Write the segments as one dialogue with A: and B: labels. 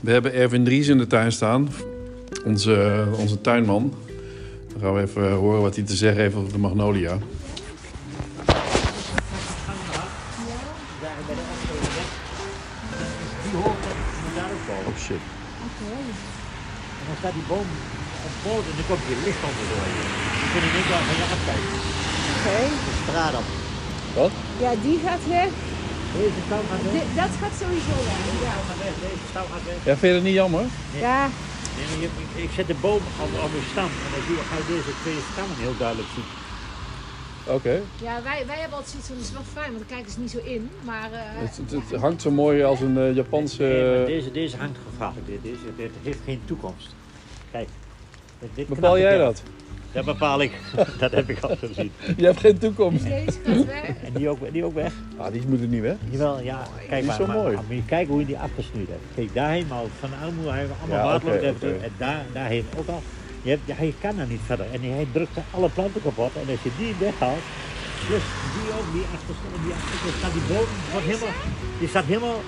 A: We hebben Erwin Dries in de tuin staan. Onze, onze tuinman. Dan gaan we even horen wat hij te zeggen heeft over de magnolia.
B: Die hoort dat het moet daar ook komen.
A: Oh shit.
B: En dan staat die boom op poot en dan komt hier licht onder door je. Dan kun je niet wel van je afkijken.
C: Oké,
B: De straat op.
A: Wat?
C: ja, die gaat weg.
B: Deze touw gaat weg.
C: Di- dat gaat sowieso weg. Ja.
B: touw gaat weg, Deze touw gaat weg.
A: Ja, vind je dat niet jammer?
C: ja.
B: Nee, maar je- ik- Ik zet de boom op, op een stam en dan zie je, ga je deze twee stammen heel duidelijk zien.
A: Oké.
C: Ja, wij, wij hebben altijd zoiets van, het is wel fijn, want dan kijken ze niet zo in. Maar eh,
A: Het, het- het hangt zo mooi als een eh, Japanse...
B: Nee, maar deze, deze hangt gevaarlijk. Dit, deze, dit heeft geen toekomst. Kijk. dit- dit
A: eh, Bepaal
B: knappe
A: jij
B: ding.
A: dat?
B: Dat bepaal ik. dat heb ik al gezien.
A: Je hebt geen toekomst.
C: deze gaat weg.
B: En die ook, die ook weg.
A: Ah, die moet er niet weg.
B: Jawel, ja. Kijk
A: is
B: maar,
A: zo
B: maar,
A: mooi.
B: maar moet je kijken hoe je die afgesnoeid hebt. Kijk, daarheen maar ook. Van de armoede hebben we
A: Ja,
B: allemaal waterloos
A: oké,
B: hebben
A: oké.
B: En daar, daarheen ook al. Je, hebt, hij kan daar niet verder. En hij drukt alle planten kapot. En als je die weghaalt, dus die ook, die achterste, en die achterste, staat die boom, wordt helemaal, die staat helemaal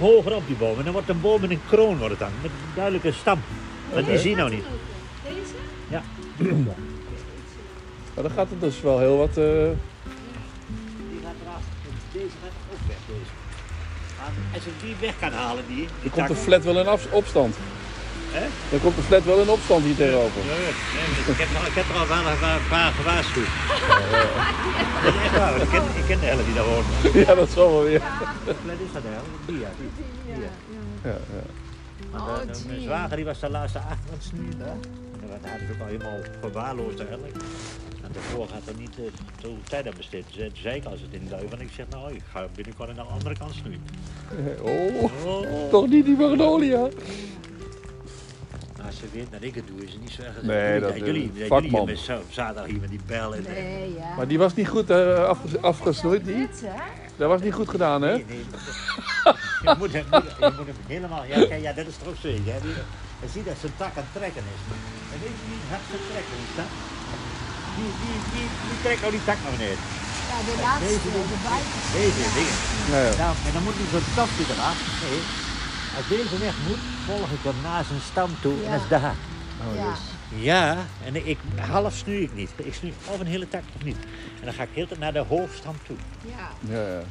B: hoger op die boom. En dan wordt een boom met een kroon wordt het dan, met een duidelijke stam. Dat die zie je nou niet.
C: Deze?
A: Maar dan gaat het dus wel heel wat... eh,
B: Die gaat eraf. Deze gaat ook weg, deze. Maar als ik die weg kan halen, die, die
A: komt de
B: tak-
A: flat wel in af- opstand.
B: Hè?
A: Dan komt de flat wel in opstand hier tegenover.
B: Ja, ja. Nee, maar ik, heb, nog- ik heb er al wel een paar- paar gewaarschuwd. Dat is echt waar, want ik ken, ik ken de helft die daar woont.
A: Ja, dat zal wel weer.
B: Wat is dat nou? de helft? Die, ja. die.
C: Ja.
B: Ja.
A: Ja, ja.
B: Maar
C: Oh,
B: de- de- eh, Mijn
C: gee.
B: zwager die was de laatste acht want nu daar. En dat hadden ze ook al helemaal verwaarloosd eigenlijk. En daarvoor had er niet eh, zo tijd aan besteed. Dus, eh, Toen zei ik als het in lui, want ik zeg nou, ik ga binnenkort aan de andere kant snoeien.
A: Oh,
B: Oh.
A: toch niet die magnolia.
B: Maar als ze weet dat ik het doe, is het niet zo erg. als
A: Nee,
B: jullie-
A: dat-
B: jullie, jullie,
A: vakman.
B: jullie met zo- zaterdag hier met die bel en
C: Nee, ja.
A: Maar die was niet goed eh, afge- afgesnoeid, die.
C: Dit, hè?
A: Dat was niet goed gedaan, hè?
B: Nee, nee, je, moet hem, moet- je moet hem helemaal. Ja, kijk, ja, dat is toch zo. Je, je ziet dat zijn tak aan het trekken is. En weet je niet hard te trekken is dat? Die, die, die, die trekt nou die tak naar beneden.
C: Ja, de laatste, de buitenste.
B: Deze dingen.
A: Ja, ja.
B: Nou, en dan moet hij zo'n topje eraf. Nee. Als deze weg moet, volg ik hem naar zijn stam toe en dat is daar.
C: Ja.
B: Ja, en ik, half snu ik niet. Ik snu of een hele tak of niet. En dan ga ik heel de tijd naar de hoofdstam toe.
C: Ja.
A: ja, ja.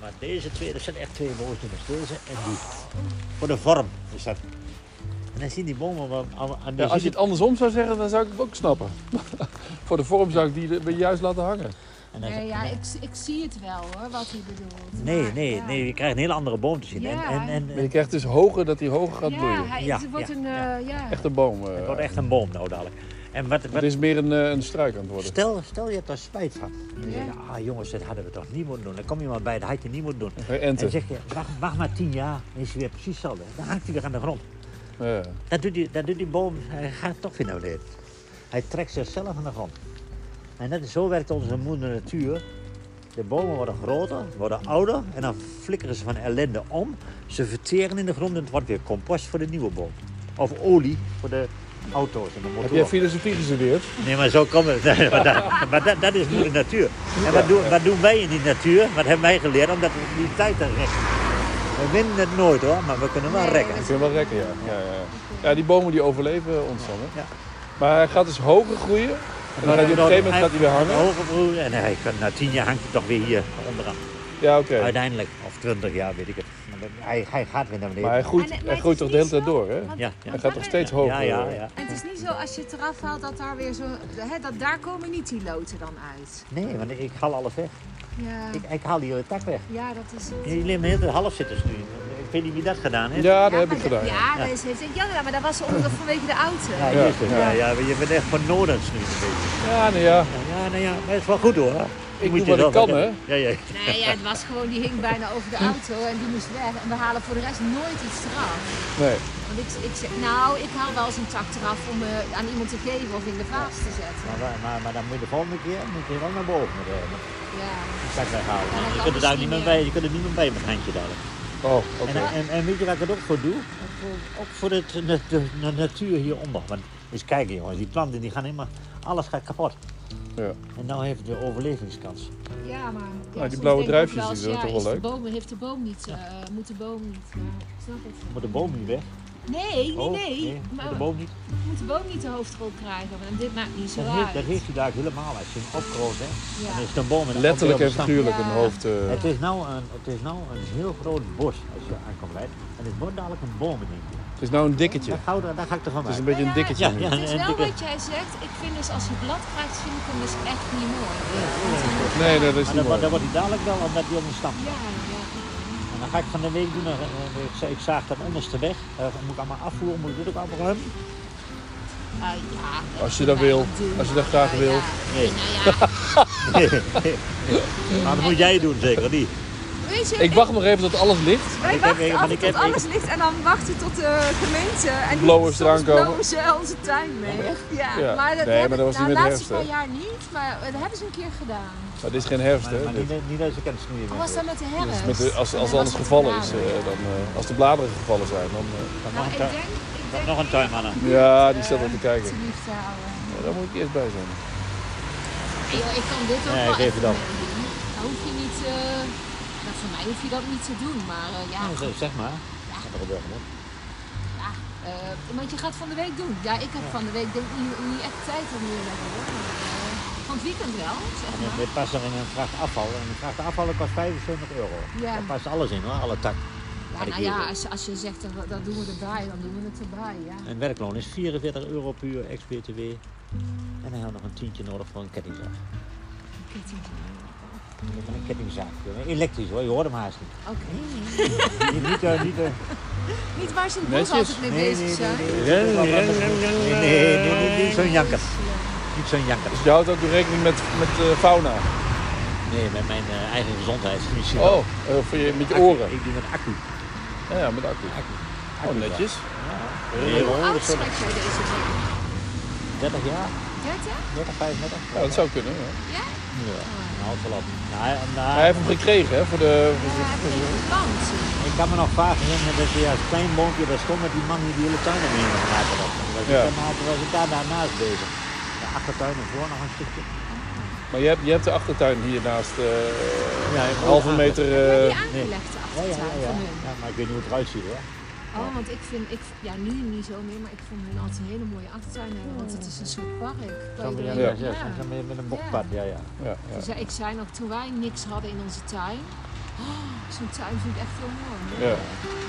B: Maar deze twee, dat zijn echt twee boosdoeners. Deze en die. Voor de vorm is dat. En dan zien die bomen wel aan, aan de...
A: Ja, als je het andersom zou zeggen, dan zou ik het ook snappen. Voor de vorm zou ik die er- juist laten hangen.
B: en dan-
C: Nee, ja, ik, ik zie het wel hoor, wat hij bedoelt.
B: nee,
C: Maar,
B: nee,
C: ja.
B: nee, je krijgt een hele andere boom te zien.
C: Ja.
B: En, en, en,
A: Maar je
B: en
A: krijgt dus hoger dat die hoger gaat
C: Ja,
A: bloeien.
C: hij,
B: Ja,
C: het wordt
B: ja,
C: een,
B: ja.
C: eh, ja.
A: Echt een boom. eh.
B: het wordt echt een boom nou dadelijk. En wat,
A: Het
B: wat,
A: is meer een, eh, een struik aan het worden.
B: stel, stel je hebt daar spijt van. En je
C: Ja.
B: zegt, ah jongens, dat hadden we toch niet moeten doen. Dan kom je maar bij, dat had je niet moeten doen.
A: Geen
B: En dan
A: enten.
B: zeg je, wacht, wacht maar tien jaar, dan is hij weer precies hetzelfde. Dan hangt hij weer aan de grond.
A: Ja.
B: Dat doet, die, dat doet die boom, hij gaat toch weer naar beneden. Hij trekt zichzelf aan de grond. En dat is, zo werkt onze moeder natuur. De bomen worden groter, worden ouder en dan flikkeren ze van ellende om. Ze verteren in de grond en het wordt weer compost voor de nieuwe boom. Of olie voor de auto's en de
A: Heb
B: motoren.
A: jij filosofie gestudeerd?
B: Nee, maar zo komt het. Nee, maar dat, maar dat, dat is moeder natuur. En wat, doen, wat doen wij in die natuur? Wat hebben wij geleerd? Omdat we die tijd aan rekken. We winnen het nooit hoor, maar we kunnen wel
C: Nee,
B: rekken.
A: Ik vind het wel rekken, ja. Ja, ja, ja. ja, die bomen die overleven ons dan. Hè?
B: Ja.
A: Maar hij gaat dus hoger groeien. En dan gaat hij op een gegeven moment gaat hij weer hangen.
B: Hoge broer, en hij, kan- na tien jaar hangt hij toch weer hier onderaan.
A: Ja, oké.
B: Uiteindelijk, of twintig jaar, weet ik het. Maar Hij, hij gaat weer naar beneden.
A: Maar hij groeit,
C: Ah, Maar- maar
A: hij
C: het
A: groeit
C: is
A: toch de
C: niet
A: hele tijd
C: zo,
A: door, hè?
C: want-
B: Ja, ja.
C: want
A: Hij gaat
C: daar
A: nog
C: ben-
A: steeds
B: ja,
A: hoger.
B: ja,
A: eh.
B: ja.
C: En het is niet zo als je het eraf haalt dat daar weer zo. Hè, dat daar komen niet die loten dan uit.
B: Nee, want ik haal alles weg.
C: Ja,
B: Ik, ik haal die hele tak weg.
C: ja dat is het.
B: Jullie hebben heel de half zitten nu. Ik weet niet wie dat gedaan heeft.
A: Ja, dat heb
C: maar
A: ik
C: de-
A: gedaan. ja.
C: Ja, dat is, heeft, ja, ja, maar dat was onder, vanwege de auto.
B: Ja,
A: Ja,
B: juist.
A: ja.
B: ja, ja, maar je bent echt van Noordens nu een beetje.
A: Ja, nou ja.
B: Ja, nou ja, maar het is wel goed hoor. Je
A: doe
B: je
A: wat ik
B: wel-
A: kan, hè.
B: Ja, ja.
C: Nee, ja, het was gewoon, die hing bijna over de auto en die moest weg. En we halen voor de rest nooit iets eraf.
A: Nee.
C: Want ik, ik zeg, nou, ik haal wel eens een tak eraf om eh, aan iemand te geven of in de vaas te zetten.
B: Maar, maar, maar, maar dan moet je de volgende keer moet je wel naar boven met, eh, met
C: Ja.
B: die tak weghalen.
C: Ja, dat
B: je
C: kan
B: kunt er
C: misschien
B: daar dus niet meer
C: niet.
B: bij, je kunt er niet meer bij met het handje dadelijk.
A: Oh, oké.
B: En, en, en weet je waar ik het ook voor doe? Ook voor- Ook voor het, de, de- de natuur hieronder. Want eens kijken jongens, die planten die gaan helemaal, alles gaat kapot.
A: Ja.
B: En nou heeft de overlevingskans.
C: Ja, maar... ja,
A: Nou, die
C: soms
A: blauwe
C: denk ik
A: druifjes,
C: wel
A: die
C: eens,
A: zijn
C: ja,
A: toch wel
C: is de
A: leuk?
C: Boom, heeft de boom niet, eh, moet de boom niet. Maar ik snap het.
B: Moet de boom niet weg?
C: Nee, nee,
B: Oh,
C: nee.
B: Moet
C: Maar
B: de boom niet?
C: moet de boom niet de hoofdrol krijgen, want dit maakt niet zo
B: Dat
C: uit.
B: heeft, dat heeft hij daar helemaal. Als je hem opkroost, hè,
C: Ja.
B: dan is het een boom. en dan
A: Letterlijk en
B: komt hij op de
A: figuurlijk
C: Ja.
A: een hoofd. eh,
B: stam. Het is, nou een, het is nou een heel groot bos als je aankomt rijden. En het wordt dadelijk een boom in één keer.
A: het is nou een dikketje.
B: Daar,
A: Het
B: hou- daar ga ik toch van
A: is een
B: maken.
A: beetje een
C: Ja,
A: dikketje
B: ja,
A: nu.
B: ja.
C: Het is
B: En
C: wel
B: dikke-
C: wat jij zegt. Ik vind dus als je blad krijgt, vind ik hem dus echt niet mooi.
A: Nee, nee, dat is
B: Maar
A: niet
B: dan,
A: mooi.
B: dan wordt hij dadelijk wel omdat hij op een stam
C: Ja,
B: staat.
C: ja.
B: En dan ga ik van de week doen, eh, eh, ik, za- ik zaag dat onderste weg. Eh, moet ik allemaal afvoeren, moet ik dit ook opruimen?
C: Ah, ja
A: Als je dat
C: kan je
A: wil.
C: wel doen,
A: Als je dat
C: maar,
A: graag
C: eh,
A: wil.
C: ja.
B: Nee.
C: Nou ja,
B: Maar Nou, dat moet jij doen zeker, of niet?
C: weet je,
A: Ik wacht nog even tot alles ligt.
D: Wij
B: Ik heb
D: wachten
B: even-
D: af
B: ik
D: tot
B: heb
D: alles ligt en dan wachten tot de gemeente. En die
A: Blowers
D: soms
A: eraan komen.
D: blowen ze onze tuin mee. Ja,
A: Ja.
D: maar dat
A: Nee,
D: hebben-
A: maar dat was
D: nou,
A: niet met
D: laatste
A: herfst, hè?
D: paar jaar niet, maar dat hebben ze een keer gedaan.
A: Maar dit is geen herfst,
B: Maar, maar
A: hè? dit.
B: niet, niet dat ze kan snoeien.
C: Hoe Oh, was dat met de herfst?
A: Met de- als
C: En
A: als
C: dan
A: alles
C: was het
A: gevallen is,
C: bladeren.
A: eh, dan, eh, als de bladeren gevallen zijn, dan... eh,
B: Dan
C: Nou,
B: nog
C: ik
B: een
C: denk,
B: tuin-
C: ik
B: dan
C: denk
B: nog een tuinman aan.
A: ja, die staat al te kijken.
C: te lief te houden.
A: Ja, daar moet ik eerst bij zijn.
C: Joh, ik kan dit ook
B: Nee,
C: wel
B: geef
C: echt
B: het op.
C: meedoen. Dan hoef je niet, eh, nou, voor mij hoef je dat niet te doen, maar eh, ja,
B: Nou, zeg- Zeg maar. Wat er gebeuren moet.
C: ja eh, want je gaat van de week doen. Ja, ik heb van de week denk ik niet, niet echt tijd om hier naar te horen. Eh, Van het weekend wel, zeg
B: En
C: maar.
B: dit past er in een vracht afval. En een vracht afvallen kost 75 euro.
C: Ja.
B: Daar past alles in hoor, alle tak.
C: Ja,
B: Maar ik
C: nou
B: wil-
C: ja, als, je- als je zegt dat, dat doen we erbij, dan doen we het erbij, ja.
B: Een werkloon is 44 euro per uur, ex-BTW. En dan hebben we nog een tientje nodig voor een kettingzaag. Je kan een kettingzaag doen. Elektrisch hoor, je hoort hem haast niet.
C: Oké.
B: niet, niet, eh, niet, eh,
C: Niet waar ze in het
A: Netjes.
C: bos altijd mee
B: nee,
C: bezig
B: nee,
C: zijn.
B: nee, nee, nee, nee, nee, nee, niet zo'n janker. Niet zo'n janker.
A: Dus je houdt ook de rekening met, met eh, fauna.
B: Nee, met mijn eh, eigen gezondheid. Misschien wel.
A: Oh, eh, voor je, met je
B: Accu.
A: oren.
B: Ik doe met accu.
A: Ja, ja, met accu. Oh, netjes.
B: Nee, hoor, Oh, dat
C: Oud
B: is zo'n
C: schat jij deze man?
B: 30 jaar,
C: 30?
B: 30, 35.
A: Ja, dat zou kunnen. Ja.
C: Ja?
B: Ja, nou, het wel op. Nou, nou,
A: Hij heeft hem gekregen, hè? Voor de,
C: Ja, hij heeft even
B: Eh,
C: de band.
B: Ik kan me nog vaak herinneren dat je als klein boompje daar stond met die man die de hele tuin ermee had maken was. Dan was ik
A: Ja.
B: helemaal- toen was ik daar daarnaast bezig. De achtertuin en voor nog een stukje.
A: Maar je hebt, je hebt de achtertuin hiernaast. eh
B: Ja, ik-
A: halve meter.
C: Heb
A: eh,
C: je aangelegd de
B: Ja, ja,
C: achtertuin
B: ja.
C: van hun?
B: ja, maar ik weet niet hoe het eruit ziet hoor.
C: Oh, want ik vind, ik, ja nu niet zo meer, maar ik vond hun altijd een hele mooie achtertuin hebben, want het is een soort park.
B: Zo
C: Waar
B: met,
C: iedereen-
B: Oh. ja, ja,
C: ja.
B: zo met- met een bokpad, ja, ja.
A: ja, ja.
C: Dus ja, ik zei nog, toen wij niks hadden in onze tuin, oh, zo'n tuin vind ik echt heel mooi.
A: Ja.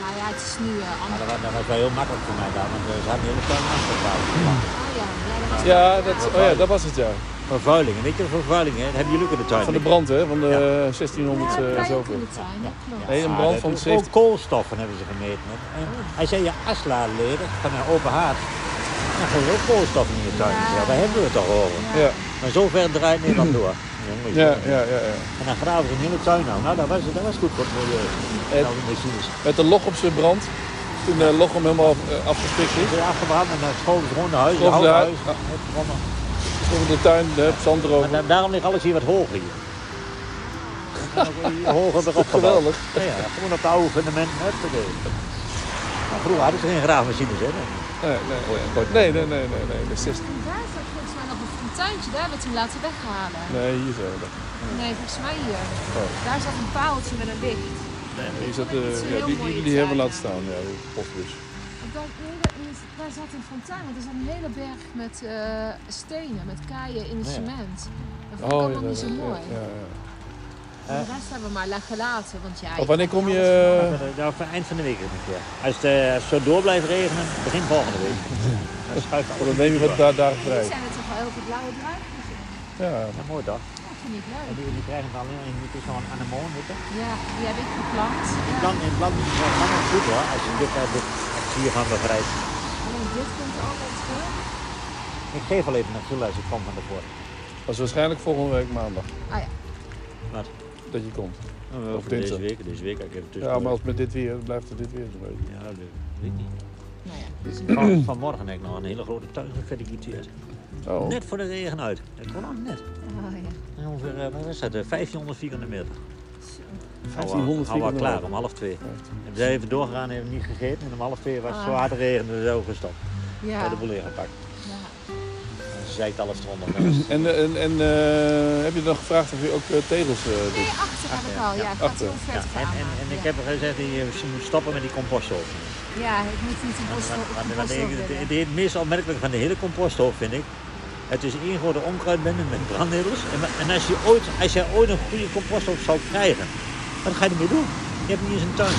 C: Maar ja, het is nu eh
B: Maar
C: anders.
B: dat was, dat was wel heel makkelijk voor mij daar, want eh, ze hadden de hele tuin afgepakt.
C: Oh ja, ja, dat was
A: Ja, dat, oh ja, dat was het ja.
B: Vervuiling, weet je wat vervuiling hè? Dat hebben jullie ook in de tuin.
A: Van de
B: liggen.
A: brand, hè? Van de
B: Ja.
A: 1600
C: Ja,
A: eh,
C: wij ook
A: zoveel.
C: in de tuin, dat klopt.
A: Nee, een brand
B: dat
A: van
B: is
A: 70.
B: Ook koolstoffen hebben ze gemeten. hè. En hij zei, je asla leren van een open haard. Dan gooi je ook koolstof in je tuin. Ja, daar hebben we het toch over.
A: Ja,
B: Maar zo ver draait Nederland door. Jongens,
A: ja,
B: jongens.
A: ja, ja, ja.
B: En dan graven ze een hele tuin nou. Nou, dat was, dat was goed voor het milieu. Nou, misschien is
A: Met de Lochemse brand. Toen de Lochem helemaal eh, afgespikt is.
B: het weer afgebrand en dan schoven ze gewoon naar huis.
A: Schoven
B: houten
A: naar
B: huis.
A: huis,
B: Het brandde.
A: Over de tuin, de zand
B: Maar
A: erover.
B: da- daarom ligt alles hier wat hoger hier. Hoger erop gebouwd.
A: Geweldig.
B: Ja, ja, gewoon op de oude fundamenten. huppakee. Maar Nou, vroeger hadden ze geen graafmachines, hè?
A: Nee, nee, nee, nee, nee, nee, nee, de 16.
C: En daar zat volgens mij nog een fonteintje, daar werd hem laten weghalen.
A: Nee, hier zo. dat-
C: Nee, volgens mij hier.
A: Oh.
C: Daar zat een paaltje met een licht.
A: Hier zat de, ja, die, die, die dus. hebben we laten staan, ja, de postbus.
C: Ik dacht, nee, dat is- daar zat een fontein, want er zat een hele berg met eh, stenen, met kaaien in het
B: Ja.
C: cement. Dat vond ik
A: Oh, ja,
C: allemaal niet zo mooi.
A: ja, ja, ja.
C: De rest hebben we maar la- gelaten, want ja...
A: Of wanneer kom je... eh,
B: Ja, voor eind van de week. een keer. Als het eh, als het zo door blijft regenen, begin volgende week. Dan schuift
A: Oh,
B: alles
A: dan neem je wat
B: door.
A: daar, daar
C: Hier
A: vrij.
C: zijn er toch wel heel veel blauwe dus druifjes in.
A: Ja,
B: Ja, mooi toch?
C: Dat vind ik
B: En
C: leuk.
B: die, die krijgen het alleen in, het is zo'n anemoon, weet je.
C: Ja, die heb ik geplant. Ja.
B: Dan in het land is het lang en goed hoor, als je dit uit dit hiervan bevrijdt.
C: En dit komt altijd terug.
B: Ik geef al even een gil als ik kom van de voort.
A: dat is waarschijnlijk volgende week maandag
C: Ah ja,
B: Wat?
A: dat je komt.
B: Oh,
A: Of dinsdag.
B: week, deze week. Ik heb het
A: Ja, maar als het met dit weer, dan blijft het dit weer zo beetje.
B: Ja, dat weet ik niet.
C: nou ja.
B: Van, vanmorgen heb ik nog een hele grote tuin geferticuteerd.
A: Oh,
B: Net voor de regen uit. Dat kon nog net.
C: Oh ja.
B: En ongeveer, eh, wat was dat, eh, 1500 vierkante meter.
C: Zo.
A: 1500
B: Al wel
A: vierkante
B: klaar,
A: meter.
B: om half twee. We zijn even doorgegaan, hebben niet gegeten. En om half twee was het zo hard regende, zo gestopt.
C: Ja.
B: Bij de boel ingepakt.
C: ja.
B: En gezeikt alles eronder. Nou,
A: En, eh, en, en eh, heb je dan gevraagd of je ook eh, tegels eh, doet?
C: Nee, achter heb ik al. Ja, ik ga het
A: achter.
C: heel
B: Ja,
C: vet
B: en,
C: gaan
B: en, en ik
C: ja.
B: heb gezegd, je ze moet stoppen met die composthoofd.
C: ja, ik moet niet een bos
B: Want- want-
C: op
B: want-
C: een
B: want
C: bos
B: ik-
C: op
B: Het
C: willen.
B: het meest opmerkelijk van de hele composthoofd vind ik. Het is één grote onkruidbende met brandnetels. En, maar- en als, je ooit, als jij ooit een goede composthoofd zou krijgen, wat ga je ermee doen? Je hebt niet eens een tuin.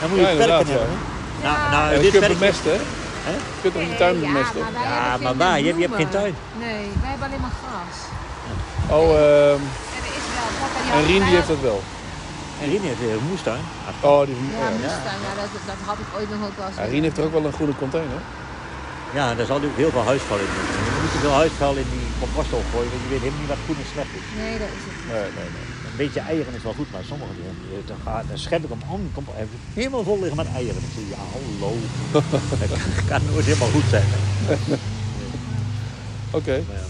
B: Dan moet je
A: Ja, inderdaad,
B: perken hebben.
A: ja.
B: hè?
C: Ja.
B: Nou, nou,
A: Ja, je
B: dit
A: kunt
B: werkt
A: bemesten, hè?
B: Hè?
A: Je kunt toch je
C: Nee,
A: tuin
C: Eh, ja,
A: bemesten?
C: maar wij
B: Ja,
C: hebben
B: maar
C: geen
B: waar? Je hebt- je hebt geen
C: bloemen. Nee, wij hebben alleen maar gras.
A: Oh, ehm,
C: En er is wel wat aan jou.
A: en Rien die heeft dat wel.
B: En Rien heeft weer een moestuin.
A: Oh, die,
C: Ja,
A: ja.
C: moestuin, ja, dat, dat had ik ooit nog ook wel eens.
A: Ja, Rien heeft er ook wel een groene container.
B: Ja, daar zal natuurlijk heel veel huisvuil in moeten. Je moet niet te veel huisvuil in die composthoofd gooien, want je weet helemaal niet wat goed en slecht is.
C: Nee, dat is het.
A: Nee, nee, nee.
B: Een beetje eieren is wel goed, maar sommige dingen, eh, dan, ga- dan schep ik hem aan, kom, heb ik helemaal vol liggen met eieren. Ik zeg, ja, hallo. dat kan, kan nooit helemaal goed zijn.
A: Oké.
B: Maar ja.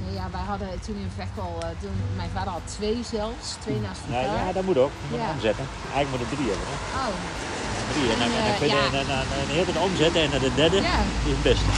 C: Nee, ja, wij hadden toen in Vekel, eh, toen, mijn vader had twee zelfs, twee naast
B: Ja,
C: elkaar.
B: ja, dat moet ook. Je moet
C: Ja.
B: omzetten. Eigenlijk moet er drie hebben. Hè?
C: Oh,
B: Drie. En dan, en dan
C: Eh,
B: kun je
C: ja.
B: en- en- en- en heel wat omzetten en dan de derde
C: Ja.
B: is het beste.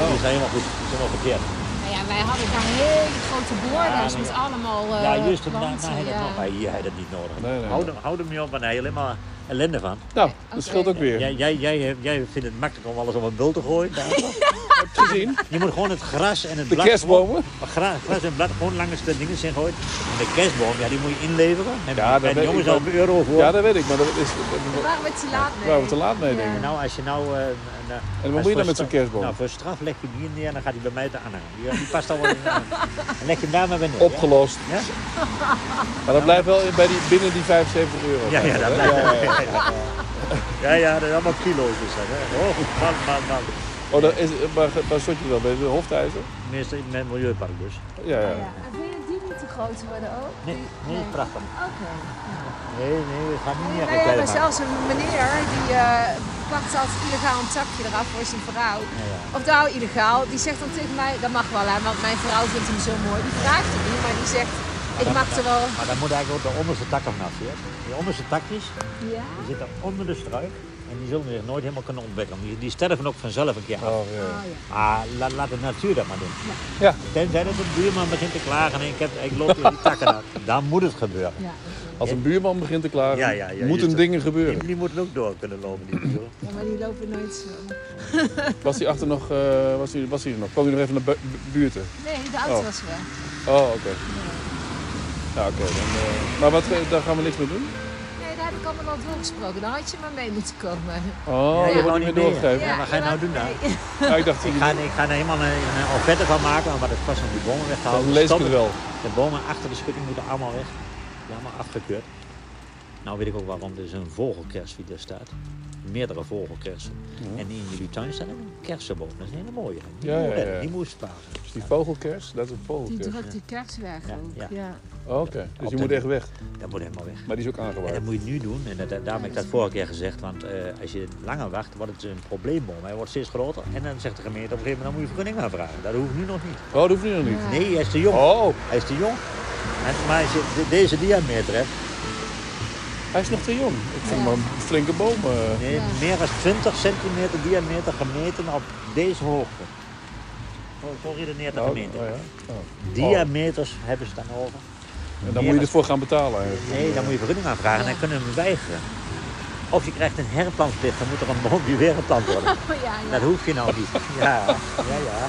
C: oh.
B: Die is helemaal goed. Die is helemaal verkeerd.
C: Nou ja, wij hadden daar hele grote boorders
B: Ja,
C: met
B: ja.
C: allemaal eh
B: ja, juist om daarna
C: planten.
B: hij dat
C: ja.
B: nog. Maar hier heb je dat niet nodig.
A: Nee, nee.
B: Houd, hem, houd hem niet op, want hij heeft helemaal ellende van.
A: Nou,
C: Oké.
A: dat scheelt ook weer.
B: Jij, jij, jij, jij vindt het makkelijk om alles op een bult te gooien. daar.
A: Heb je het gezien?
B: Je moet gewoon het gras en het
A: De
B: blad...
A: kerstbomen?
B: gewoon- gra- gras en blad gewoon langs de dingen zijn gooien. En de kerstboom, ja, die moet je inleveren. En,
A: Ja, dat
B: en
A: weet
B: jongens
A: ik
B: al
A: wel.
B: een euro voor.
A: Ja, dat weet ik, maar dat is,
D: Daar
A: daar
D: waren we te laat mee.
A: waren we te laat mee, denk
B: En
A: ik.
B: nou, als je nou... eh, nou,
A: En
B: als
A: wat moet je
B: voor
A: dan met zo'n
B: straf-
A: kerstboom?
B: Nou, voor straf leg je die in neer en dan gaat hij bij mij te aanhangen. Die, eh, die past al wel in de aanhang. En leg je hem daar maar bij neer. ja?
A: Opgelost.
B: Ja?
A: Maar dat blijft wel bij die, binnen die 75 euro.
B: Ja, ja, dat
A: Hè?
B: blijft
A: Ja, ja.
B: Ja, ja, dat is allemaal kilo's dus dat. Hè. Oh, man, man, man.
A: Oh, dat is, waar, waar stond je dan? Bij de Hofthijzer?
B: Tenminste, in het milieupark dus.
A: Ja, ja.
C: Ja. En Wil je die niet te groot worden ook?
B: Nee,
C: Die-
B: nee, prachtig.
C: Oké. Nou
B: Nee, nee, we gaan niet meer
D: Wij hebben zelfs een meneer die eh plakt altijd illegaal een takje eraf voor zijn vrouw. Of nou, illegaal. Die zegt dan tegen mij, dat mag wel hè, want mijn vrouw vindt hem zo mooi. Die vraagt het niet, maar die zegt, ik mag er wel.
B: Maar dan moet eigenlijk ook de onderste takken vanaf. hè. Die onderste takjes,
C: Ja?
B: die zitten onder de struik. En die zullen zich nooit helemaal kunnen ontwikkelen. Die, die sterven ook vanzelf een keer af.
A: Oh, ja.
C: Oh, ja.
B: Maar la- laat de natuur dat maar doen.
A: Ja.
B: Tenzij dat de buurman begint te klagen en ik, heb, ik loop tegen die takken af. Dan moet het gebeuren.
C: Ja,
A: Als een buurman begint te klagen,
B: Ja, ja, ja,
A: moeten
B: juist.
A: dingen
B: Die,
A: gebeuren.
B: die moeten ook door kunnen lopen, die buren.
C: ja, maar die lopen nooit zo.
A: Was hij achter nog, eh, was hij, was hij er nog? Kwam hij nog even naar bu- bu- buurten?
C: Nee, de auto
A: Oh.
C: was weg.
A: Oh, oké. Ja, oké. dan, eh, maar wat, eh, daar gaan we niks mee doen?
C: Nee, daar heb ik allemaal al doorgesproken. Dan had je maar mee moeten komen.
A: Oh,
B: Ja,
A: dat wordt
B: gewoon
A: niet meer
B: niet meer.
A: doorgegeven.
B: wat ga je nou doen dan?
C: nee.
A: Ah, ik dacht,
B: Ik ga, ik ga er helemaal een, een offerte van maken, maar dat kost om die bomen weg te
A: dan
B: houden.
A: lees ik
B: Stop
A: het wel.
B: De bomen achter de schutting moeten allemaal weg. Die zijn allemaal afgekeurd. Nou weet ik ook waarom. Er is een vogelkers die er staat. Meerdere vogelkersen. En die in jullie tuin staat ook een kersenboom. Dat is een hele mooie. Die
A: Ja,
B: moet
A: ja,
B: redden,
A: ja.
B: Die moet sparen.
A: Dus die vogelkers, dat is een
C: Die
A: vogelkers.
C: drukt die kerst weg
B: Ja,
C: ook.
B: ja.
C: Ja.
A: Oh, oké. Dus die moet echt weg.
B: Dat moet helemaal weg.
A: Maar die is ook
B: En dat
A: aangewaard.
B: moet je nu doen. En dat, dat- daarom heb ik dat vorige keer gezegd. Want eh, als je langer wacht, wordt het een probleemboom. Hij wordt steeds groter. En dan zegt de gemeente op een gegeven moment, dan moet je vergunning aanvragen. Dat hoeft nu nog niet.
A: Oh, dat hoeft nu nog niet.
B: Nee, hij is te jong.
A: Oh,
B: Hij is te jong. En, maar als je de- deze diameter hebt,
A: hij is nog te jong. Ik vind hem een flinke boom. eh.
B: Nee,
C: Ja.
B: meer dan 20 centimeter diameter gemeten op deze hoogte. Zo, zo redeneert de
A: Oh,
B: gemeente.
A: oh ja. Oh.
B: Diameters hebben ze dan over.
A: En dan moet je ervoor gaan betalen eigenlijk.
B: Nee, dan moet je vergunning aanvragen en dan kunnen we hem weigeren. Of je krijgt een herplantplicht, dan moet er een boom die weer geplant worden.
C: Oh, ja, ja.
B: Dat hoef je nou niet. Ja, ja, ja.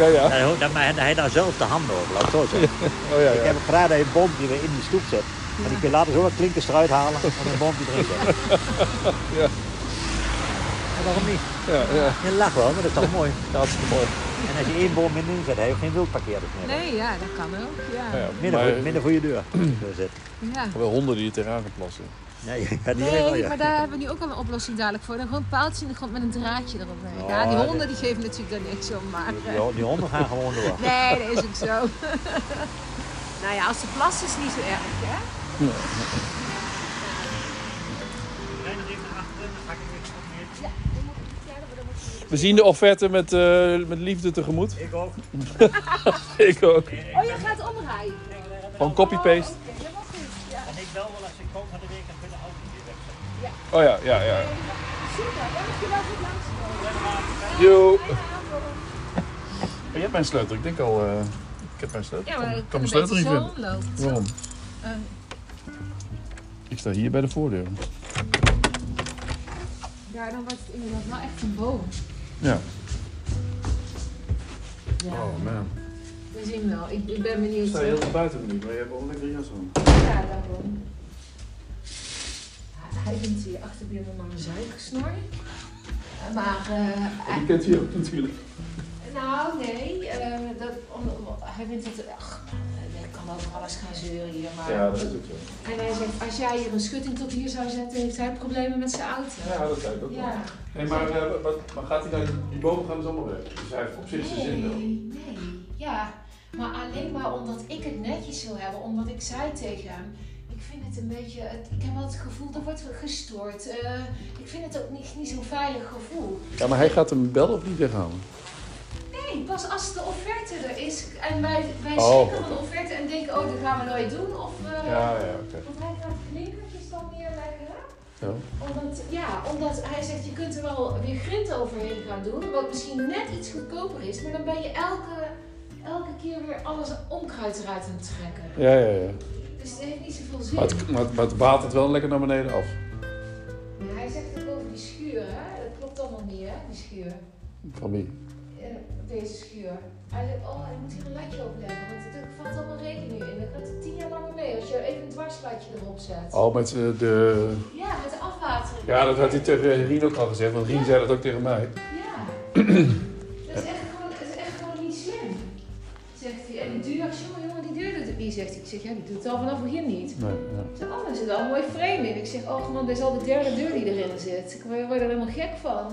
A: Ja, ja.
B: Dat ho- dat- Maar hij daar zelf de handen over, laat ik het zo zeggen.
A: Oh, ja,
B: Ik
A: ja.
B: heb graag dat je een boompje weer in die stoep zet. En die kun je later zo wat klinkers eruit halen en een boompje erin zetten.
A: Ja.
B: En waarom niet?
A: ja, ja.
B: Je lacht wel, maar dat is toch mooi.
A: Dat is mooi.
B: En als je één boom minder inzet, heb je geen wildparkeerders meer.
C: Nee, ja, dat kan ook.
B: Oh,
C: Ja.
A: Ja,
C: ja.
B: Minder, voor,
A: maar
B: minder voor je deur. Zo zit.
A: wel honden die je terrein gaan plassen.
B: Nee, ja, die regel,
C: Nee,
B: ja.
C: maar daar hebben we nu ook al een oplossing dadelijk voor. Dan gewoon paaltjes in de grond met een draadje erop.
B: Oh, Ja,
C: Ja, die
B: dat-
C: honden die geven natuurlijk daar niks om, maar... eh,
B: Die, die honden gaan gewoon door.
C: Nee, dat is ook zo. nou ja, als de plas is niet zo erg, hè?
A: We zien de offerte met, eh, met liefde tegemoet.
B: Ik ook.
A: Ik ook.
C: Oh, je gaat omrijden.
A: Gewoon copy-paste.
C: Oké, helemaal goed. Ja,
B: En ik bel wel als ik kom van de week en kunnen auto niet weg.
A: Oh ja, ja, ja.
C: super. Dan moet je wel goed langs.
A: Joe. Maar Oh, je hebt mijn sleutel. Ik denk al, eh, ik heb mijn sleutel.
C: Ja,
A: Ik
C: maar
A: kan-
C: ik
A: kan
C: kan
A: mijn
C: het
A: sleutel
C: beter
A: niet
C: zo
A: vinden.
C: omlopen.
A: Waarom?
C: Eh.
A: Ik sta hier bij de voordeur.
C: Ja, dan wordt het inderdaad wel echt een boom.
A: Ja.
C: Ja,
A: Oh man.
C: we zien wel. Ik, ik ben benieuwd.
A: Ik sta heel erg buiten nu, maar je hebt wel een lekkere jas aan.
C: Ja, daarom. Hij vindt hier achterbuurman maar een zuigersnor. Maar, eh,
A: Die kent hij ook natuurlijk.
C: nou nee, eh, dat, om, om- hij vindt het, ach, eh, ik kan over alles gaan zeuren hier, maar...
A: Ja, dat is ook zo.
C: En hij zegt, als jij hier een schutting tot hier zou zetten, heeft hij problemen met zijn auto.
A: Ja, dat zei ik ook wel.
C: Ja.
A: Hey, maar, eh, wat- maar gaat hij dan, die bomen gaan dus allemaal weg. Dus hij heeft op zich zijn zin wel.
C: Nee, nee, ja. Maar alleen maar omdat ik het netjes wil hebben, omdat ik zei tegen hem. Ik vind het een beetje, het- ik heb wel het gevoel, er wordt gestoord. Eh, ik vind het ook niet, niet zo'n veilig gevoel.
A: Ja, maar hij gaat hem bel of niet weghalen?
C: Nee, pas als de offerte er is en wij, wij
A: Oh,
C: schrikken
A: oké.
C: van de offerte en denken, oh, dat gaan we nooit doen. Of, eh,
A: Ja, ja, oké.
C: Want hij gaat klinkertjes dan neerleggen.
A: Ja.
C: Omdat, ja, omdat hij zegt, je kunt er wel weer grind overheen gaan doen, wat misschien net iets goedkoper is, maar dan ben je elke, elke keer weer alles onkruid eruit aan het trekken.
A: Ja, ja, ja.
C: Dus het heeft niet zoveel zin.
A: Maar het, maar, het- maar het waalt het wel lekker naar beneden af.
C: Ja, hij zegt ook over die schuur, hè? dat klopt allemaal niet, hè, die schuur.
A: Van wie?
C: Eh, deze schuur. Hij zegt, oh, hij moet hier een latje opleggen, want er valt allemaal rekening in. Dan gaat het tien jaar langer mee als je even een dwarslatje erop zet.
A: Oh, met eh, de...
C: Ja, met de afwatering.
A: Ja, dat had hij tegen Rien ook al gezegd, want Rien zei dat ook tegen mij.
C: Ja. Het is echt gewoon, het is echt gewoon niet slim. Zegt hij. En die duur, jongen, jongen, die duur doet het niet, zegt hij. Ik zeg, ja, die doet het al vanaf het begin niet.
A: Nee, ja.
C: Ik zeg, oh, er zit wel een mooi frame in. Ik zeg, oh man, dit is al de derde deur die erin zit. Ik word word er helemaal gek van.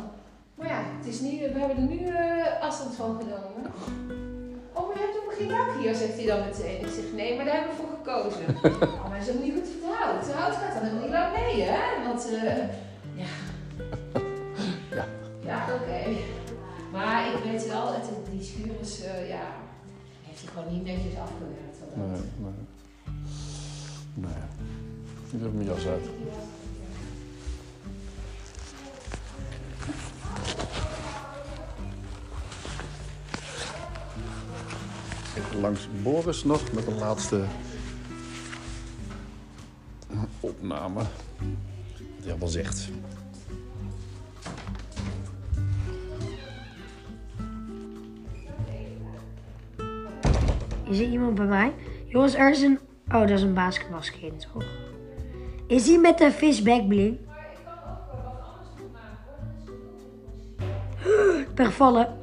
C: Maar ja, het is niet, we hebben er nu eh, afstand van genomen. Oh, maar je hebt ook geen dak hier, zegt hij dan meteen. Ik zeg, nee, maar daar hebben we voor gekozen. oh, maar het is ook niet goed voor het hout. Het hout gaat dan helemaal niet lang mee, hè? Want, eh, ja.
A: Ja.
C: Ja, oké. Maar ik weet wel, het, die schuur is, eh, ja, heeft hij gewoon niet netjes afgewerkt. wat dat
A: Nee, nee. Nee. Ik heb mijn jas uit. Even langs Boris nog met de laatste opname. Wat hij allemaal zegt.
E: Is er iemand bij mij? Jongens, er is een... Oh, dat is een basketbalsketen, toch? Is die met de visback bling? Ik ben gevallen.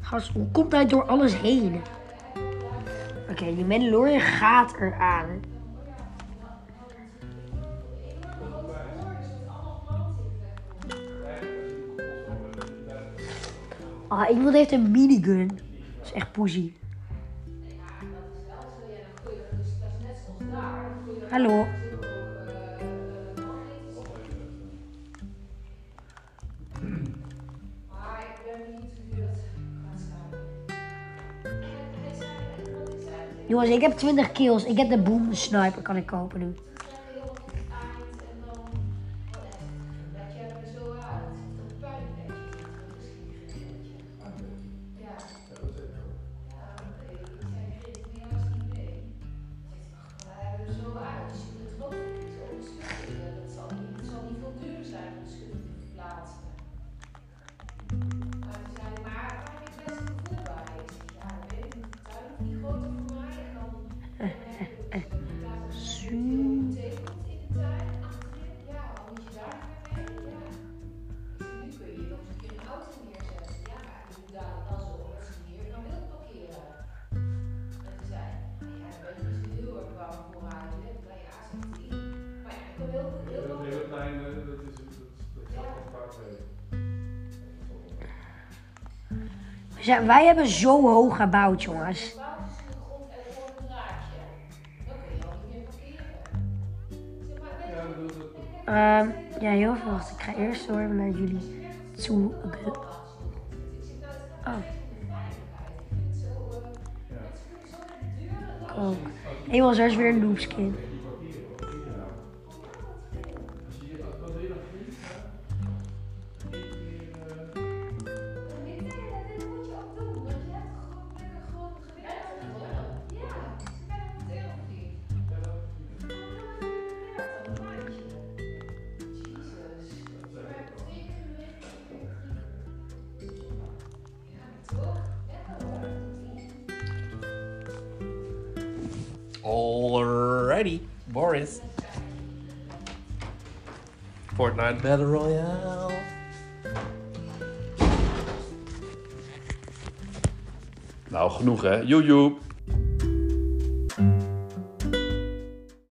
E: Gast, hoe komt hij door alles heen? Oké, die Mandalorian gaat eraan. hè. Ah, iemand heeft een minigun. Dat is echt poesie. Hallo. Jongens, ik heb 20 kills. Ik heb de boom sniper kan ik kopen nu. Zo.
A: Dat hele plein, dat is vaak
E: We zijn- Wij hebben zo hoog gebouwd, jongens. Ehm, ja, heel veel. wacht, Ik ga eerst door naar jullie toe. Oh. Oh. Eenmaal is weer een loopskin.
C: Alrighty, Boris. Fortnite Battle Royale.
A: Nou, genoeg hè. Joejoe.